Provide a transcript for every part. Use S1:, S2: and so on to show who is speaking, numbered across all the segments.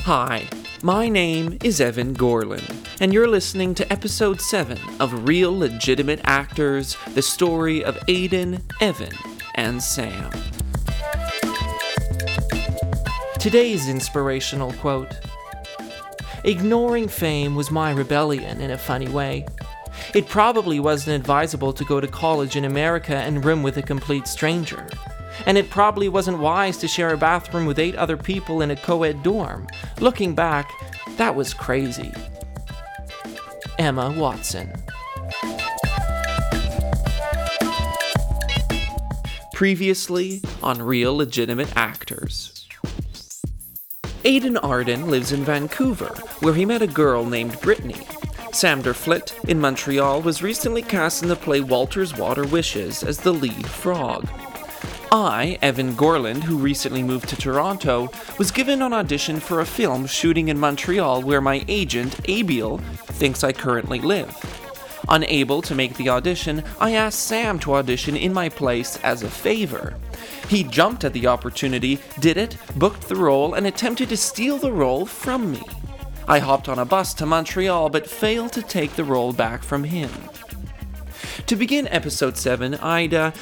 S1: Hi, my name is Evan Gorlin, and you're listening to episode 7 of Real Legitimate Actors The Story of Aiden, Evan, and Sam. Today's inspirational quote Ignoring fame was my rebellion in a funny way. It probably wasn't advisable to go to college in America and room with a complete stranger. And it probably wasn't wise to share a bathroom with eight other people in a co ed dorm. Looking back, that was crazy. Emma Watson. Previously on Real Legitimate Actors. Aidan Arden lives in Vancouver, where he met a girl named Brittany. Sam Derflit in Montreal was recently cast in the play Walter's Water Wishes as the lead frog. I, Evan Gorland, who recently moved to Toronto, was given an audition for a film shooting in Montreal where my agent, Abiel, thinks I currently live. Unable to make the audition, I asked Sam to audition in my place as a favor. He jumped at the opportunity, did it, booked the role, and attempted to steal the role from me. I hopped on a bus to Montreal but failed to take the role back from him. To begin episode 7, I'd, uh,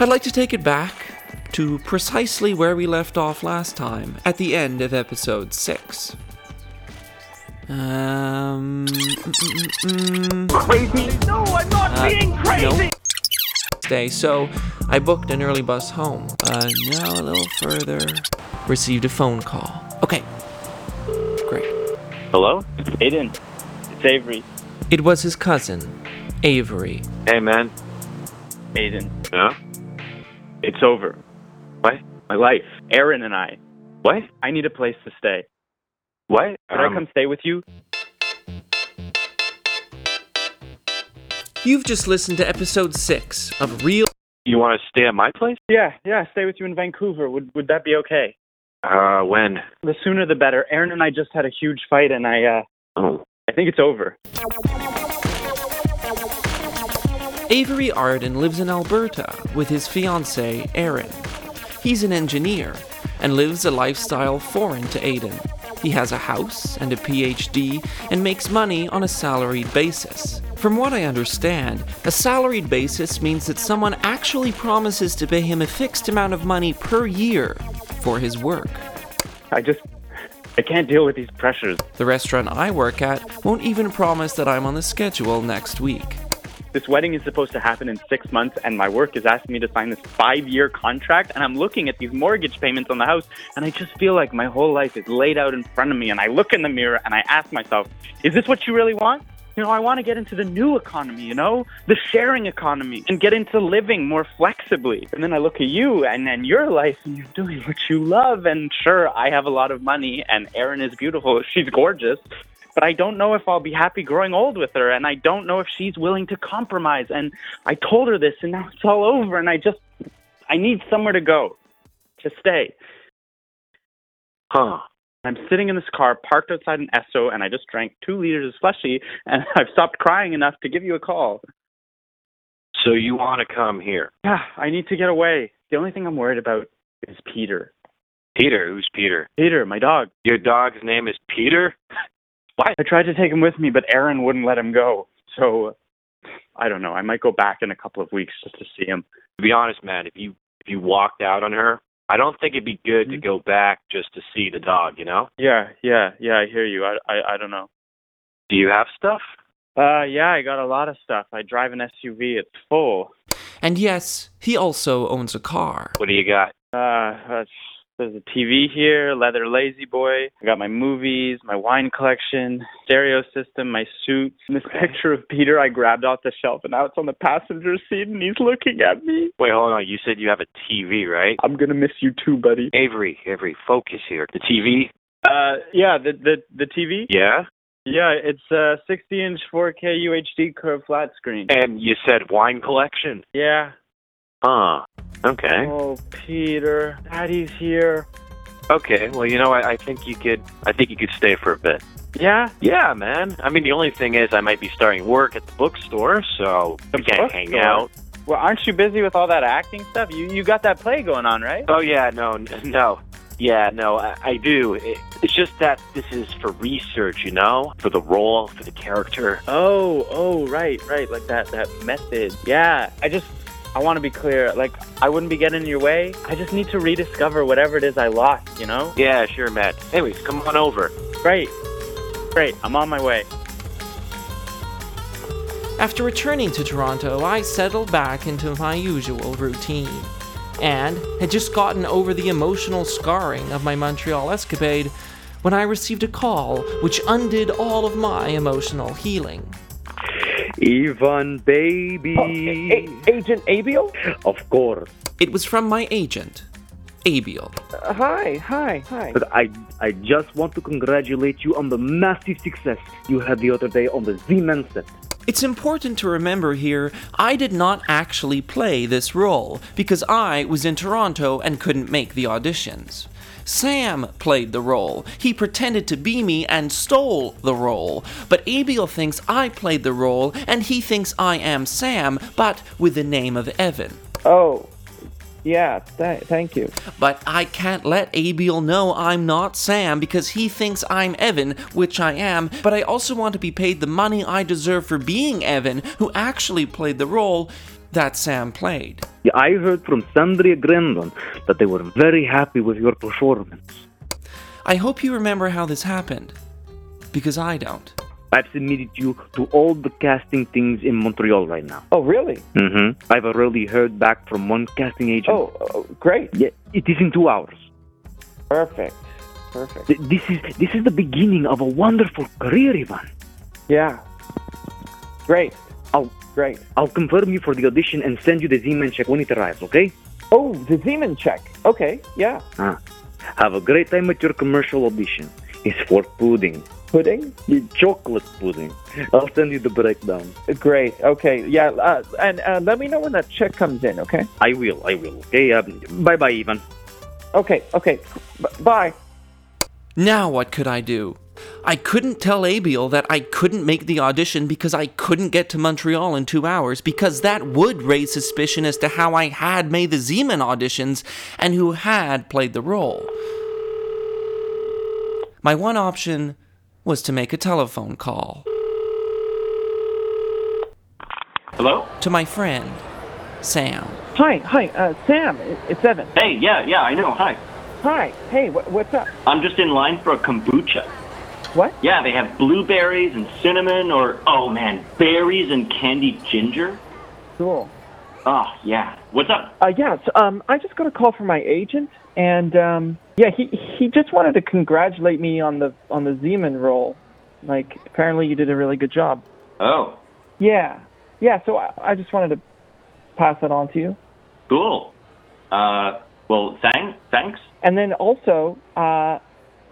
S1: I'd like to take it back to precisely where we left off last time, at the end of episode 6. Um.
S2: crazy? No, I'm not being crazy!
S1: Nope. Day, so I booked an early bus home. Uh, now a little further, received a phone call. Okay, great.
S3: Hello? Aiden. It's Avery.
S1: It was his cousin, Avery.
S4: Hey, man.
S3: Aiden.
S4: Yeah?
S3: It's over.
S4: What?
S3: My life. Aaron and I.
S4: What?
S3: I need a place to stay.
S4: What?
S3: Could I come stay with you?
S1: You've just listened to episode six of Real.
S4: You want to stay at my place?
S3: Yeah, yeah, stay with you in Vancouver. Would would that be okay?
S4: Uh, when?
S3: The sooner the better. Aaron and I just had a huge fight and I uh
S4: Oh.
S3: I think it's over.
S1: Avery Arden lives in Alberta with his fiancee, Erin. He's an engineer and lives a lifestyle foreign to Aiden. He has a house and a PhD and makes money on a salaried basis. From what I understand, a salaried basis means that someone actually promises to pay him a fixed amount of money per year for his work.
S3: I just I can't deal with these pressures.
S1: The restaurant I work at won't even promise that I'm on the schedule next week.
S3: This wedding is supposed to happen in six months and my work is asking me to sign this five year contract and I'm looking at these mortgage payments on the house and I just feel like my whole life is laid out in front of me and I look in the mirror and I ask myself, is this what you really want? You know, I want to get into the new economy, you know, the sharing economy and get into living more flexibly. And then I look at you and then your life and you're doing what you love. And sure, I have a lot of money and Erin is beautiful. She's gorgeous but I don't know if I'll be happy growing old with her, and I don't know if she's willing to compromise. And I told her this, and now it's all over, and I just, I need somewhere to go, to stay.
S4: Huh.
S3: I'm sitting in this car parked outside an Esso, and I just drank two liters of slushy, and I've stopped crying enough to give you a call.
S4: So you want to come here?
S3: Yeah, I need to get away. The only thing I'm worried about is Peter.
S4: Peter? Who's Peter?
S3: Peter, my dog.
S4: Your dog's name is Peter?
S3: I tried to take him with me, but Aaron wouldn't let him go. So, I don't know. I might go back in a couple of weeks just to see him.
S4: To be honest, man, if you if you walked out on her, I don't think it'd be good to
S3: Mhm.
S4: go back just to see the dog. You know?
S3: Yeah, yeah, yeah. I hear you. I, I, I don't know.
S4: Do you have stuff?
S3: Uh, yeah, I got a lot of stuff. I drive an SUV. It's full.
S1: And yes, he also owns a car.
S4: What do you got?
S3: Uh, uh, there's a TV here, leather lazy boy. I got my movies, my wine collection, stereo system, my suits. And this picture of Peter I grabbed off the shelf, and now it's on the passenger seat, and he's looking at me.
S4: Wait, hold on. You said you have a TV, right?
S3: I'm gonna miss you too, buddy.
S4: Avery, Avery, focus here. The TV?
S3: Uh, yeah, the the the TV.
S4: Yeah.
S3: Yeah, it's a 60-inch 4K UHD curved flat screen.
S4: And you said wine collection.
S3: Yeah.
S4: Huh. Okay.
S3: Oh, Peter, Daddy's here.
S4: Okay. Well, you know, I, I think you could. I think you could stay for a bit.
S3: Yeah.
S4: Yeah, man. I mean, the only thing is, I might be starting work at the bookstore, so
S3: The
S4: we can't hang
S3: bookstore?
S4: out.
S3: Well, aren't you busy with all that acting stuff? You you got that play going on, right?
S4: Oh yeah, no, n- no. Yeah, no, I, I do. It, it's just that this is for research, you know, for the role, for the character.
S3: Oh, oh, right, right, like that that method. Yeah, I just I want to be clear. Like I wouldn't be getting in your way. I just need to rediscover whatever it is I lost. You know?
S4: Yeah, sure, Matt. Anyways, come on over.
S3: Great, great. I'm on my way.
S1: After returning to Toronto, I settled back into my usual routine and had just gotten over the emotional scarring of my Montreal escapade when I received a call which undid all of my emotional healing.
S5: Ivan, baby.
S4: Oh,
S2: A- Agent Abiel?
S5: Of course.
S1: It was from my agent, Abiel.
S2: Uh, hi, hi, hi.
S5: But I, I just want to congratulate you on the massive success you had the other day on the Z-Man set.
S1: It's important to remember here I did not actually play this role because I was in Toronto and couldn't make the auditions. Sam played the role. He pretended to be me and stole the role. But Abiel thinks I played the role and he thinks I am Sam, but with the name of Evan.
S2: Oh, yeah, th- thank you.
S1: But I can't let Abiel know I'm not Sam because he thinks I'm Evan, which I am, but I also want to be paid the money I deserve for being Evan, who actually played the role that Sam played.
S5: Yeah, I heard from Sandria Gremlin that they were very happy with your performance.
S1: I hope you remember how this happened, because I don't.
S5: I've submitted you to all the casting things in Montreal right now.
S2: Oh, really?
S5: Mm-hmm. I've already heard back from one casting agent.
S2: Oh, oh, great.
S5: Yeah, it is in two hours.
S2: Perfect. Perfect.
S5: Th- This is this is the beginning of a wonderful career, Ivan.
S2: Yeah. Great. Oh,
S5: I'll
S2: Great.
S5: I'll confirm you for the audition and send you the Z-Man check when it arrives. Okay?
S2: Oh, the Zeman check. Okay, yeah.
S5: Ah. Have a great time at your commercial audition. It's for pudding.
S2: Pudding?
S5: Yeah, Chocolate pudding. I'll send you the breakdown.
S2: Great. Okay, yeah. Uh, and uh, let me know when that check comes in, okay?
S5: I will. I will. Okay. Um, bye, bye, Ivan.
S2: Okay, okay. B- bye.
S1: Now what could I do? I couldn't tell Abiel that I couldn't make the audition because I couldn't get to Montreal in two hours because that would raise suspicion as to how I had made the Zeman auditions and who had played the role. My one option was to make a telephone call
S4: Hello?
S1: to my friend, Sam.
S2: Hi, hi, uh, Sam. it- It's Evan.
S4: Hey, yeah, yeah, I know. Hi.
S2: Hi. Hey, wh- what's up?
S4: I'm just in line for a kombucha.
S2: What?
S4: Yeah, they have blueberries and cinnamon or, oh man, berries and candied ginger.
S2: Cool.
S4: Oh, yeah. What's up?
S2: Uh, yeah, so, um, I just got a call from my agent, and um, yeah, he he just wanted to congratulate me on the on the Zeman role. Like, apparently, you did a really good job.
S4: Oh,
S2: Yeah, yeah. So I, I just wanted to pass that on to you,
S4: cool. Uh, well, thanks. thanks.
S2: and then also, uh,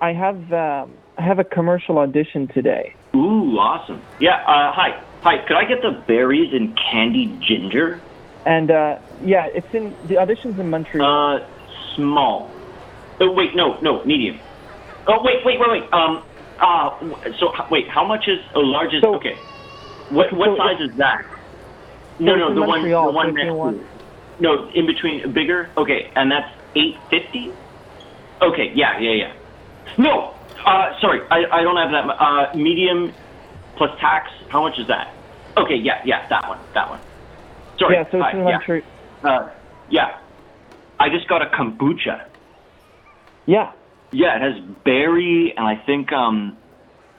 S2: I have um, I have a commercial audition today.
S4: Ooh, awesome. Yeah, uh, hi. Hi, could I get the berries and candied ginger?
S2: And uh, yeah, it's in the audition's in Montreal.
S4: Uh, small. Oh, wait, no, no, medium. Oh, wait, wait, wait, wait. Um, uh, w- so h- wait, how much is oh, large is
S2: So-
S4: okay? What what
S2: so
S4: size is that? No,
S2: it's
S4: Oh, no,
S2: in
S4: the one,
S2: Montreal,
S4: the
S2: so
S4: one
S2: if you
S4: next. to
S2: want-
S4: it. No, in between, bigger. Okay, and that's eight fifty. Okay, yeah, yeah, yeah. No, uh, sorry, I, I don't have that. mu- Uh, medium plus tax. How much is that? Okay, yeah, yeah, that one, that one. Sorry.
S2: yeah, so it's
S4: hi,
S2: in
S4: yeah.
S2: Montreal.
S4: Uh, yeah. I just got a kombucha.
S2: Yeah,
S4: Yeah, it has berry and I think um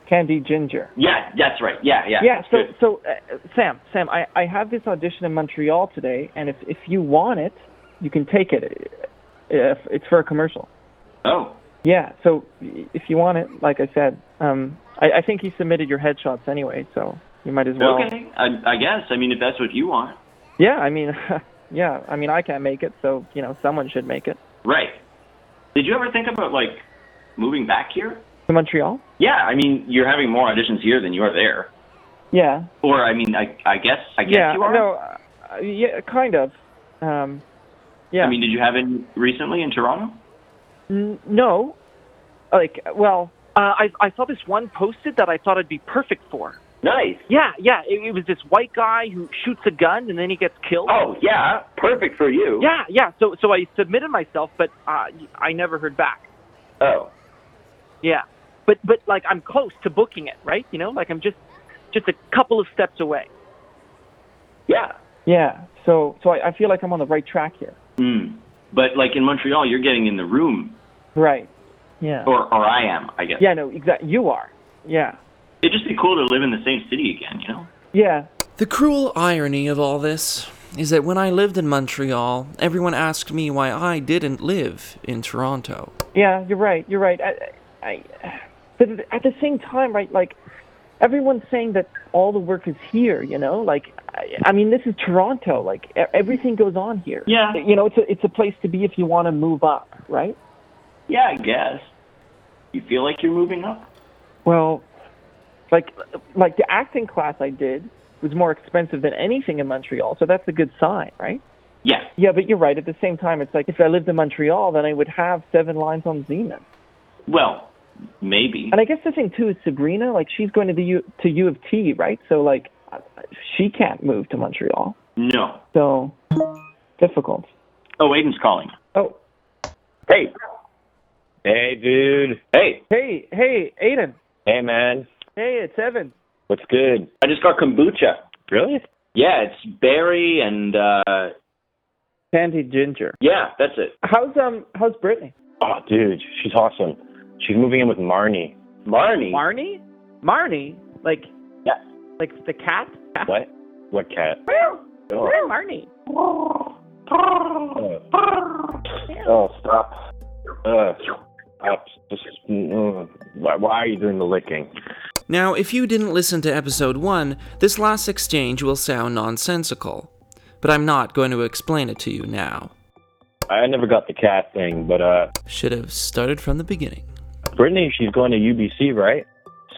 S2: Candy Ginger.
S4: yeah, that's right. Yeah, yeah.
S2: yeah so
S4: Good.
S2: so uh, sam sam I, I have this audition in montreal today and if if you want it you can take it if it's for a commercial
S4: Oh.
S2: yeah so if you want it like i said um i, I think he submitted your headshots anyway so you might as well
S4: Okay. I I guess. I mean if that's what you want.
S2: yeah i mean yeah i mean i can't make it so you know someone should make it
S4: Right. Did you ever think about like moving back here?
S2: to montreal
S4: Yeah, I mean you're having more auditions here than you are there.
S2: yeah
S4: Or I mean I I guess I guess
S2: yeah
S4: you are.
S2: no uh, yeah kind of um yeah
S4: I mean did you have any recently in Toronto?
S2: N- no. Like, well, uh, I I saw this one posted that I thought I'd be perfect for.
S4: Nice.
S2: Yeah, yeah. It, it was this white guy who shoots a gun and then he gets killed.
S4: Oh yeah. Perfect for you.
S2: Yeah, yeah. So so I submitted myself, but uh, I never heard back.
S4: Oh.
S2: Yeah, but but like I'm close to booking it, right? You know, like I'm just just a couple of steps away.
S4: Yeah.
S2: Yeah. So so I, I feel like I'm on the right track here.
S4: Mm. But like in Montreal, you're getting in the room,
S2: Right. Yeah.
S4: or or I am, I guess.
S2: yeah. No. Exactly. You are. Yeah.
S4: It'd just be cool to live in the same city again, you know.
S2: Yeah.
S1: The cruel irony of all this is that when I lived in Montreal, everyone asked me why I didn't live in Toronto.
S2: Yeah. You're right. You're right. I, I, but at the same time, right? Like everyone's saying that all the work is here. You know, like I, I mean, this is Toronto. Like e- everything goes on here.
S4: Yeah.
S2: You know, it's a it's a place to be if you want to move up, right?
S4: Yeah, I guess. You feel like you're moving up?
S2: Well, like like the acting class I did was more expensive than anything in Montreal, so that's a good sign, right?
S4: Yeah.
S2: Yeah, but you're right. At the same time, it's like if I lived in Montreal, then I would have seven lines on Zeman.
S4: Well, maybe.
S2: And I guess the thing too is Sabrina, like she's going to the U to U of T, right? So like she can't move to Montreal,
S4: No.
S2: so difficult.
S4: Oh, Aiden's calling.
S2: Oh,
S4: Hey.
S6: Hey, dude. Hey.
S2: hey, hey, Aiden.
S6: Hey, man.
S2: Hey, it's Evan.
S6: What's good?
S4: I just got kombucha.
S6: Really?
S4: Yeah, it's berry and uh
S2: Sandy Ginger.
S4: yeah, that's it.
S2: How's um how's Brittany?
S6: Oh, dude. She's awesome. She's moving in with Marnie.
S4: Marnie.
S2: Marnie? Marnie? Like
S6: Yeah.
S2: Like the cat?
S6: What? What cat? Oh,
S2: Marnie.
S6: oh. Oh, stop. Uh, stop. Just, mm, why, why are you doing the licking?
S1: Now, if you didn't listen to episode 1, this last exchange will sound nonsensical, but I'm not going to explain it to you now.
S6: I never got the cat thing, but uh,
S1: Should have started from the beginning.
S6: Brittany, she's going to UBC, right?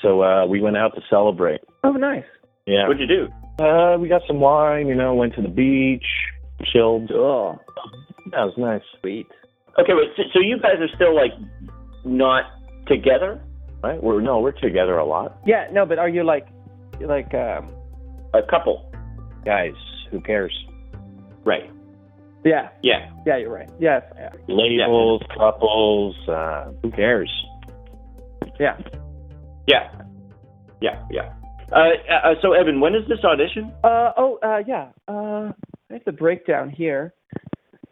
S6: So uh, we went out to celebrate.
S2: Oh nice.
S6: Yeah.
S4: What'd you do?
S6: Uh, we got some wine, you know, went to the beach, chilled.
S2: Oh,
S6: That was nice.
S2: sweet.
S4: Okay, wait, so, so you guys are still like not together?
S6: Right? We're no, we're together a lot.
S2: Yeah, no, but are you like, you're like, um,
S4: A couple.
S6: Guys, who cares?
S4: Right.
S2: yeah,
S4: Yeah.
S2: yeah, you're right. Yes, yeah,
S6: Labels, couples, uh, who cares?
S2: yeah.
S4: Yeah. Yeah, yeah. Uh, uh so Evan, when is this audition?
S2: Uh, oh, uh, yeah. Uh, I have the breakdown here.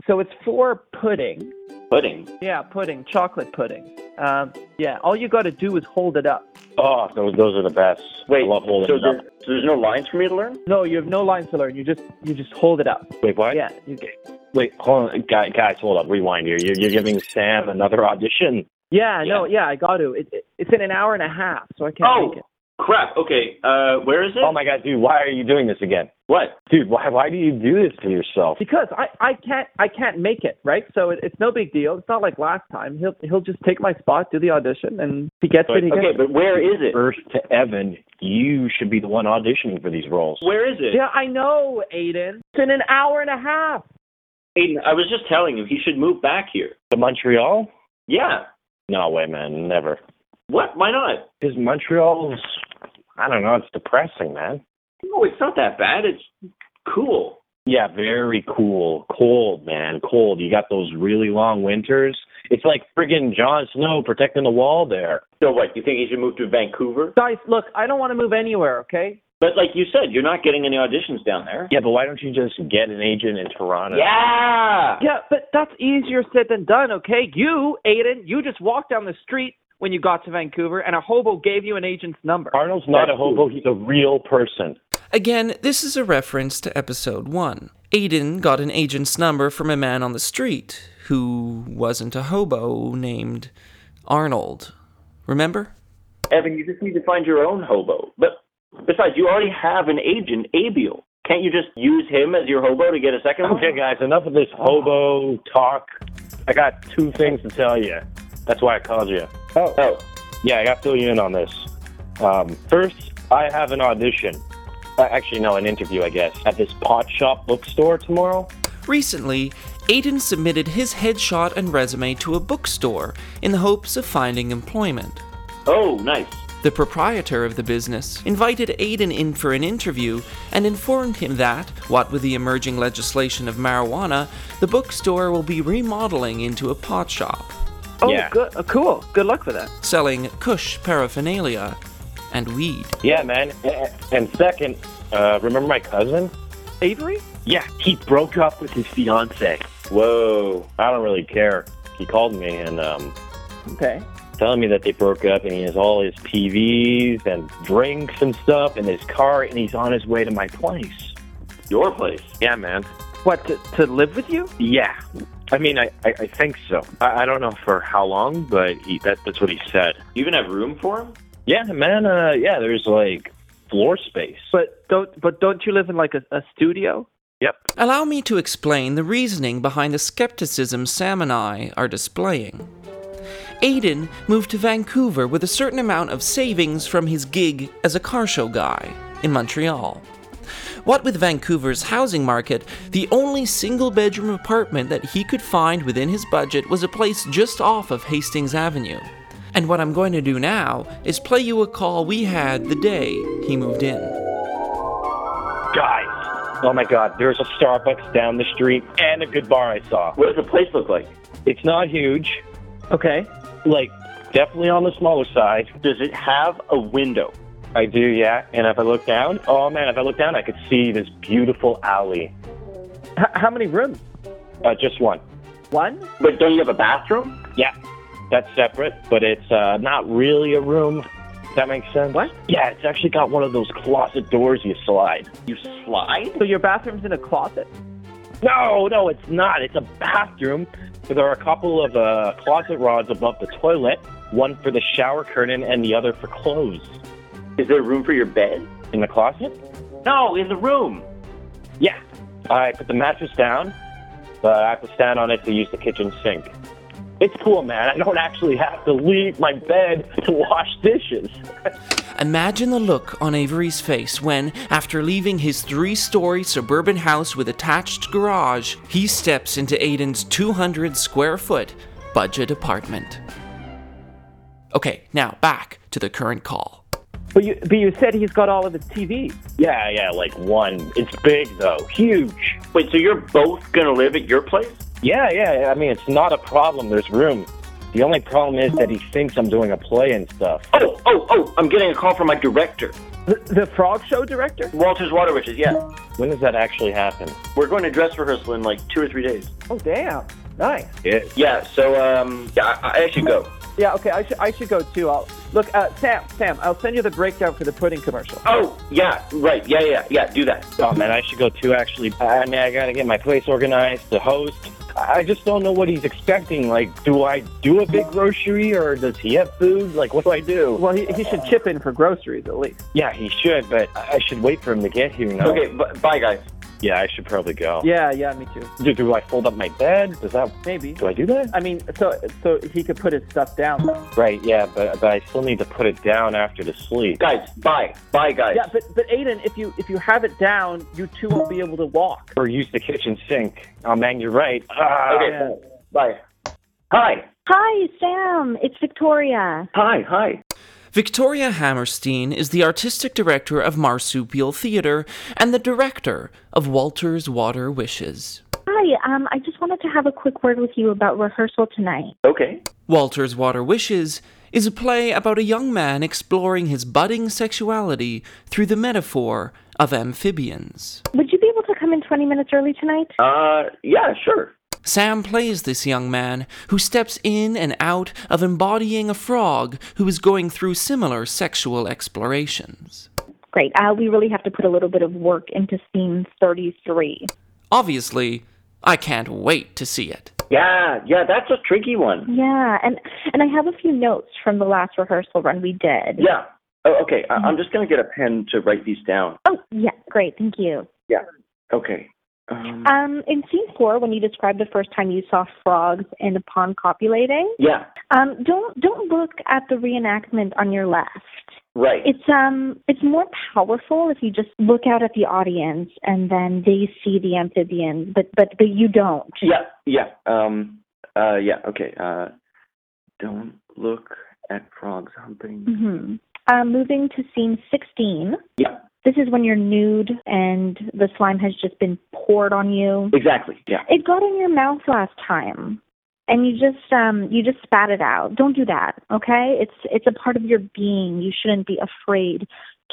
S2: So it's for pudding.
S4: Pudding.
S2: Yeah, pudding, chocolate pudding. Um, yeah, all you got to do is hold it up.
S6: Oh, those those are the best.
S4: Wait,
S6: I love holding
S4: so,
S6: it
S4: there,
S6: up.
S4: so there's no lines for me to learn?
S2: No, you have no lines to learn. You just, you just hold it up.
S6: Wait, what?
S2: Yeah, you,
S6: Wait, hold on, guys, guys, hold up, rewind here. You're, you're giving Sam another audition.
S2: yeah, no, yeah, I got to. It, it, it's in an hour and a half, so I can't
S4: Oh.
S2: make it.
S4: Crap. Okay. Uh, where is it?
S6: Oh my God, dude, why are you doing this again,
S4: What?
S6: dude? Why why do you do this to yourself?
S2: Because I, I can't I can't make it right, so it, it's no big deal. It's not like last time. He'll he'll just take my spot, do the audition, and if he gets it. He gets
S4: Okay,
S2: it.
S4: but where is it?
S6: First to Evan, you should be the one auditioning for these roles.
S4: Where is it?
S2: Yeah, I know, Aiden. It's in an hour and a half.
S4: Aiden, I was just telling him he should move back here.
S6: To Montreal?
S4: Yeah.
S6: No way, man, never.
S4: What? Why not?
S6: Because Montreal's, I don't know, it's depressing, man.
S4: No, it's not that bad. It's cool.
S6: Yeah, very cool. Cold, man. Cold. You got those really long winters. It's like friggin' Jon Snow protecting the wall there.
S4: So what? You think he should move to Vancouver?
S2: Guys, look, I don't want to move anywhere. Okay?
S4: But like you said, you're not getting any auditions down there.
S6: Yeah, but why don't you just get an agent in Toronto?
S4: Yeah.
S2: Yeah, but that's easier said than done. Okay? You, Aiden, you just walked down the street when you got to Vancouver, and a hobo gave you an agent's number.
S6: Arnold's not a hobo, he's a real person.
S1: Again, this is a reference to episode 1. Aiden got an agent's number from a man on the street who wasn't a hobo named Arnold. Remember?
S4: Evan, you just need to find your own hobo. But besides, you already have an agent, Abiel. Can't you just use him as your hobo to get a second one?
S6: Okay, guys, enough of this hobo talk. I got two things to tell you. That's why I called you.
S4: Oh.
S6: Yeah, I got to fill you in on this. Um, first, I have an audition. Uh, actually, no, an interview, I guess, at this pot shop bookstore tomorrow.
S1: Recently, Aiden submitted his headshot and resume to a bookstore in the hopes of finding employment.
S4: Oh, nice.
S1: The proprietor of the business invited Aiden in for an interview and informed him that, what with the emerging legislation of marijuana, the bookstore will be remodeling into a pot shop.
S2: Oh,
S6: Yeah.
S2: good. uh, cool. Good luck with that.
S1: selling Kush paraphernalia and weed.
S6: Yeah, man. A- And second, uh, remember my cousin?
S2: Avery?
S6: Yeah, he broke up with his fiance. Whoa, I don't really care. He called me and um,
S2: Okay.
S6: telling me that they broke up, and he has all his TVs and drinks and stuff in his car, and he's on his way to my place.
S4: Your place.
S6: Yeah, man.
S2: What, to, to live with you?
S6: Yeah. I mean, I, I, I think so. I, I don't know for how long, but he, that, that's what he said.
S4: You even have room for him?
S6: Yeah, man. Uh, yeah, there's like floor space.
S2: But don't, but don't you live in like a, a studio?
S6: Yep.
S1: Allow me to explain the reasoning behind the skepticism Sam and I are displaying. Aiden moved to Vancouver with a certain amount of savings from his gig as a car show guy in Montreal. What with Vancouver's housing market, the only single bedroom apartment that he could find within his budget was a place just off of Hastings Avenue. And what I'm going to do now is play you a call we had the day he moved in.
S6: Guys. Oh my God, there's a Starbucks down the street and a good bar I saw.
S4: What does the place look like?
S6: It's not huge,
S2: Okay.
S6: like, definitely on the smaller side.
S4: Does it have a window?
S6: I do, yeah. And if I look down, oh man, if I look down, I could see this beautiful alley.
S2: H- how many rooms?
S6: Uh, just one.
S2: One?
S4: But don't you have a bathroom?
S6: Yeah, that's separate, but it's uh, not really a room. Does that makes sense?
S2: What?
S6: Yeah, it's actually got one of those closet doors you slide.
S4: You slide?
S2: So your bathroom's in a closet?
S6: No, no, it's not. It's a bathroom. There are a couple of uh, closet rods above the toilet, one for the shower curtain and the other for clothes.
S4: Is there room for your bed?
S6: In the closet?
S4: No, in the room.
S6: Yeah. I put the mattress down, but I have to stand on it to use the kitchen sink. It's cool, man. I don't actually have to leave my bed to wash dishes.
S1: Imagine the look on Avery's face when, after leaving his three story suburban house with attached garage, he steps into Aiden's 200 square foot budget apartment. Okay, now back to the current call.
S2: But you, but you said he's got all of his TVs.
S6: Yeah, yeah, like one. It's big, though. Huge.
S4: Wait, so you're both gonna live at your place?
S6: Yeah, yeah. I mean, it's not a problem. There's room. The only problem is that he thinks I'm doing a play and stuff.
S4: Oh, oh, oh, I'm getting a call from my director.
S2: The, the Frog Show director?
S4: Walter's Water Witches, yeah.
S6: When does that actually happen?
S4: We're going to dress rehearsal in like two or three days.
S2: Oh, damn. Nice.
S6: Yeah.
S4: Yeah, so, um, yeah, I, I should go.
S2: Yeah, okay, I should, I should go too. I'll, look, uh, Sam, Sam, I'll send you the breakdown for the pudding commercial.
S4: Oh, yeah, right, yeah, yeah, yeah, do that.
S6: Oh man, I should go too. Actually, I I mean, I gotta get my place organized. The host. I I just don't know what he's expecting. Like, do I do a big grocery or does he have food? Like, what do I do?
S2: Well, he, he should chip in for groceries at least.
S6: Yeah, he should, but I I should wait for him to get here. No.
S4: Okay, b- bye, guys.
S6: Yeah, I should probably go.
S2: Yeah, yeah, me too.
S6: Do, do I fold up my bed? Does that?
S2: Maybe.
S6: Do I do that?
S2: I mean, so so he could put his stuff down.
S6: Right. Yeah, but but I still need to put it down after the sleep.
S4: Guys, bye. Bye, guys.
S2: Yeah, but but Aiden, if you if you have it down, you two won't be able to walk.
S6: Or use the kitchen sink. Oh man, you're right. Ah.
S4: okay, bye. Hi.
S7: Hi, Sam. It's Victoria.
S4: Hi, hi.
S1: Victoria Hammerstein is the artistic director of Marsupial Theatre and the director of Walter's Water Wishes.
S7: Hi. Um, I just wanted to have a quick word with you about rehearsal tonight.
S4: Okay.
S1: Walter's Water Wishes is a play about a young man exploring his budding sexuality through the metaphor of amphibians.
S7: Would you be able to come in 20 minutes early tonight?
S4: Uh, yeah, sure.
S1: Sam plays this young man who steps in and out of embodying a frog who is going through similar sexual explorations.
S7: Great. Uh, we really have to put a little bit of work into scene 33.
S1: Obviously, I can't wait to see it.
S4: Yeah, yeah, that's a tricky one.
S7: Yeah, and and I have a few notes from the last rehearsal run we did.
S4: Yeah. Oh, okay, I- I'm just going to get a pen to write these down.
S7: Oh, yeah. Great. Thank you.
S4: Yeah. Okay. Um,
S7: Um, in scene four, when you described the first time you saw frogs in a pond copulating,
S4: yeah,
S7: um, don't don't look at the reenactment on your left.
S4: right.
S7: It's um it's more powerful if you just look out at the audience and then they see the amphibians, but but but you don't.
S4: Yeah, yeah. Um, uh, yeah, okay. Uh, don't look at frogs humping.
S7: hmm Um, moving to scene sixteen.
S4: Yeah,
S7: This is when you're nude and the slime has just been poured on you.
S4: exactly. Yeah.
S7: It got in your mouth last time. and you just um you just spat it out. Don't do that, okay? It's it's a part of your being. You shouldn't be afraid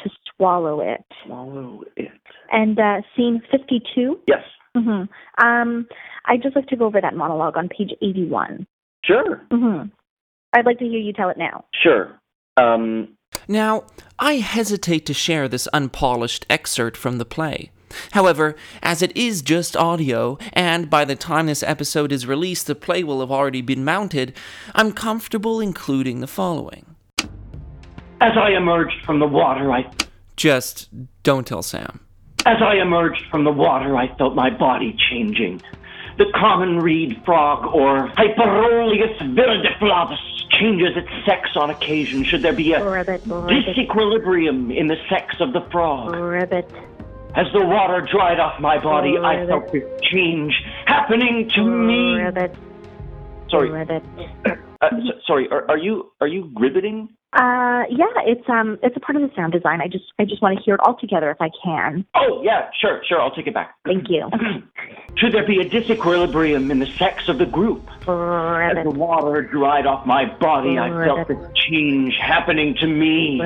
S7: to swallow it.
S5: Swallow it.
S7: And uh scene 52.
S5: Yes.
S7: Mm-hmm. Um I'd just like to go over that monologue on page 81.
S5: Sure.
S7: Mm-hmm. I'd like to hear you tell it now.
S5: Sure. Um,
S1: Now, I hesitate to share this unpolished excerpt from the play. However, as it is just audio, and by the time this episode is released, the play will have already been mounted, I'm comfortable including the following.
S4: As I emerged from the water, I
S1: Just don't tell Sam.
S4: As I emerged from the water, I felt my body changing. The common reed frog, or Hyperoleus viridiflavus, changes its sex on occasion should there be a
S7: Ribbit, ribbit,
S4: disequilibrium in the sex of the frog.
S7: ribbit.
S4: As the water dried off my body, I felt this change happening to me.
S7: Ribbit,
S4: Sorry,
S7: ribbit.
S4: uh, so- sorry. Are, are you are you riveting?
S7: Uh, yeah, it's um, it's a part of the sound design. I just, I just want to hear it all together if I can.
S4: Oh yeah, sure, sure. I'll take it back.
S7: Thank you.
S4: Should there be a disequilibrium in the sex of the group? As the
S7: Ribbit,
S4: water dried off my body, I felt the change happening to me.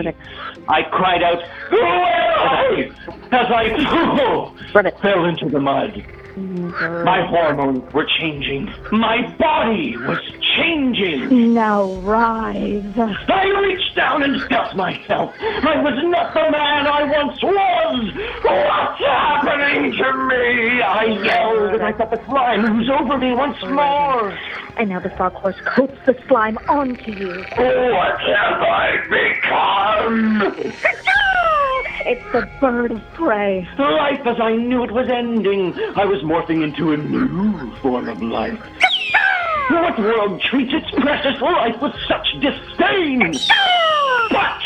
S4: I cried out, "Who am I?" As I
S7: ribbit,
S4: fell into the mud. My hormones were changing. My body was changing.
S7: now rise.
S4: I reached down and felt myself. I was not the man I once was. What's happening to me? I yelled, and I felt the slime was over me once more.
S7: And now the frog horse coats the slime onto you.
S4: What have I become?
S7: It's the bird of prey.
S4: Life as I knew it was ending. I was morphing into a new form of life. What world treats its precious life with such disdain? But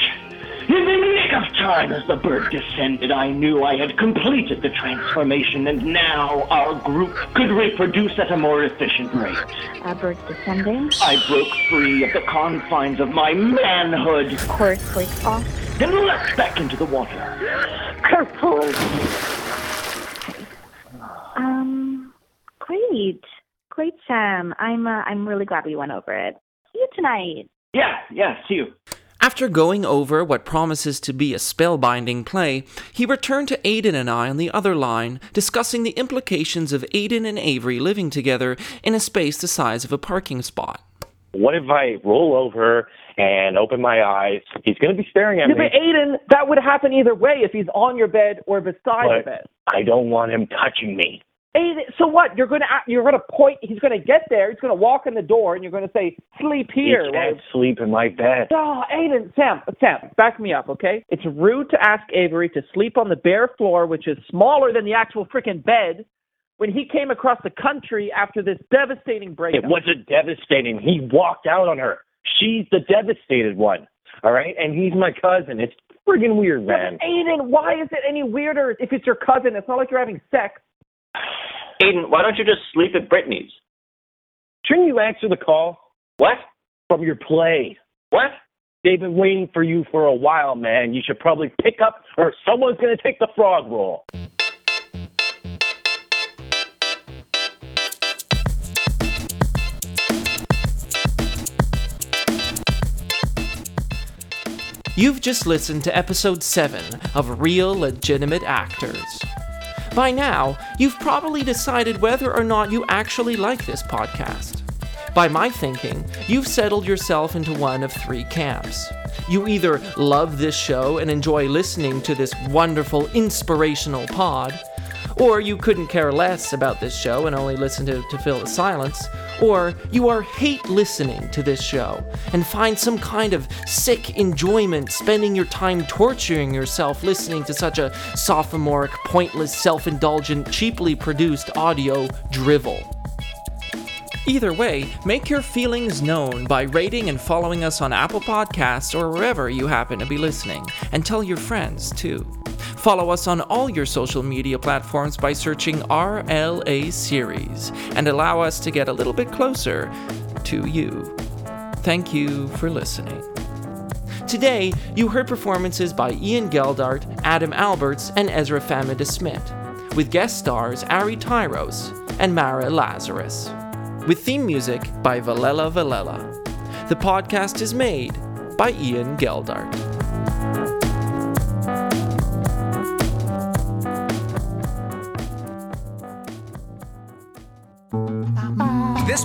S4: in the nick of time, as the bird descended, I knew I had completed the transformation, and now our group could reproduce at a more efficient rate.
S7: A bird descending.
S4: I broke free of the confines of my manhood
S7: Horse breaks off.
S4: and leapt back into the water.
S7: Um, great, great, Sam. I'm, uh, I'm really glad we went over it. See you tonight.
S4: Yeah, yeah, see you.
S1: After going over what promises to be a spellbinding play, he returned to Aiden and I on the other line, discussing the implications of Aiden and Avery living together in a space the size of a parking spot.
S6: What if I roll over and open my eyes? He's going to be staring at
S2: Yeah,
S6: me.
S2: but Aiden, that would happen either way if he's on your bed or beside
S6: What?
S2: the bed.
S6: I don't want him touching me.
S2: Aiden, so what? You're gonna you're gonna point. He's gonna get there. He's gonna walk in the door, and you're gonna say, "Sleep here."
S6: he
S2: while
S6: can't sleep in my bed.
S2: Oh, Aiden, Sam, Sam, back me up, okay? It's rude to ask Avery to sleep on the bare floor, which is smaller than the actual freaking bed, when he came across the country after this devastating
S6: It
S2: breakup.
S6: wasn't devastating. He walked out on her. She's the devastated one. All right, and he's my cousin. It's friggin' weird, man.
S2: Aiden, why is it any weirder if it's your cousin? It's not like you're having sex.
S4: Aiden, why don't you just sleep at Brittany's?
S6: Shouldn't you answer the call
S4: What?
S6: from your play?
S4: What?
S6: They've been waiting for you for a while, man. You should probably pick up, or someone's gonna take the frog roll.
S1: You've just listened to episode 7 of Real Legitimate Actors. By now, you've probably decided whether or not you actually like this podcast. By my thinking, you've settled yourself into one of three camps. You either love this show and enjoy listening to this wonderful, inspirational pod, or you couldn't care less about this show and only listen to to fill the silence, or you are hate listening to this show and find some kind of sick enjoyment spending your time torturing yourself listening to such a sophomoric, pointless, self indulgent, cheaply produced audio drivel. Either way, make your feelings known by rating and following us on Apple Podcasts or wherever you happen to be listening, and tell your friends too. Follow us on all your social media platforms by searching RLA Series and allow us to get a little bit closer to you. Thank you for listening. Today, you heard performances by Ian Geldart, Adam Alberts, and Ezra Famida Smith, with guest stars Ari Tyros and Mara Lazarus. with theme music by Valella Valella. The podcast is made by Ian Geldart.
S2: This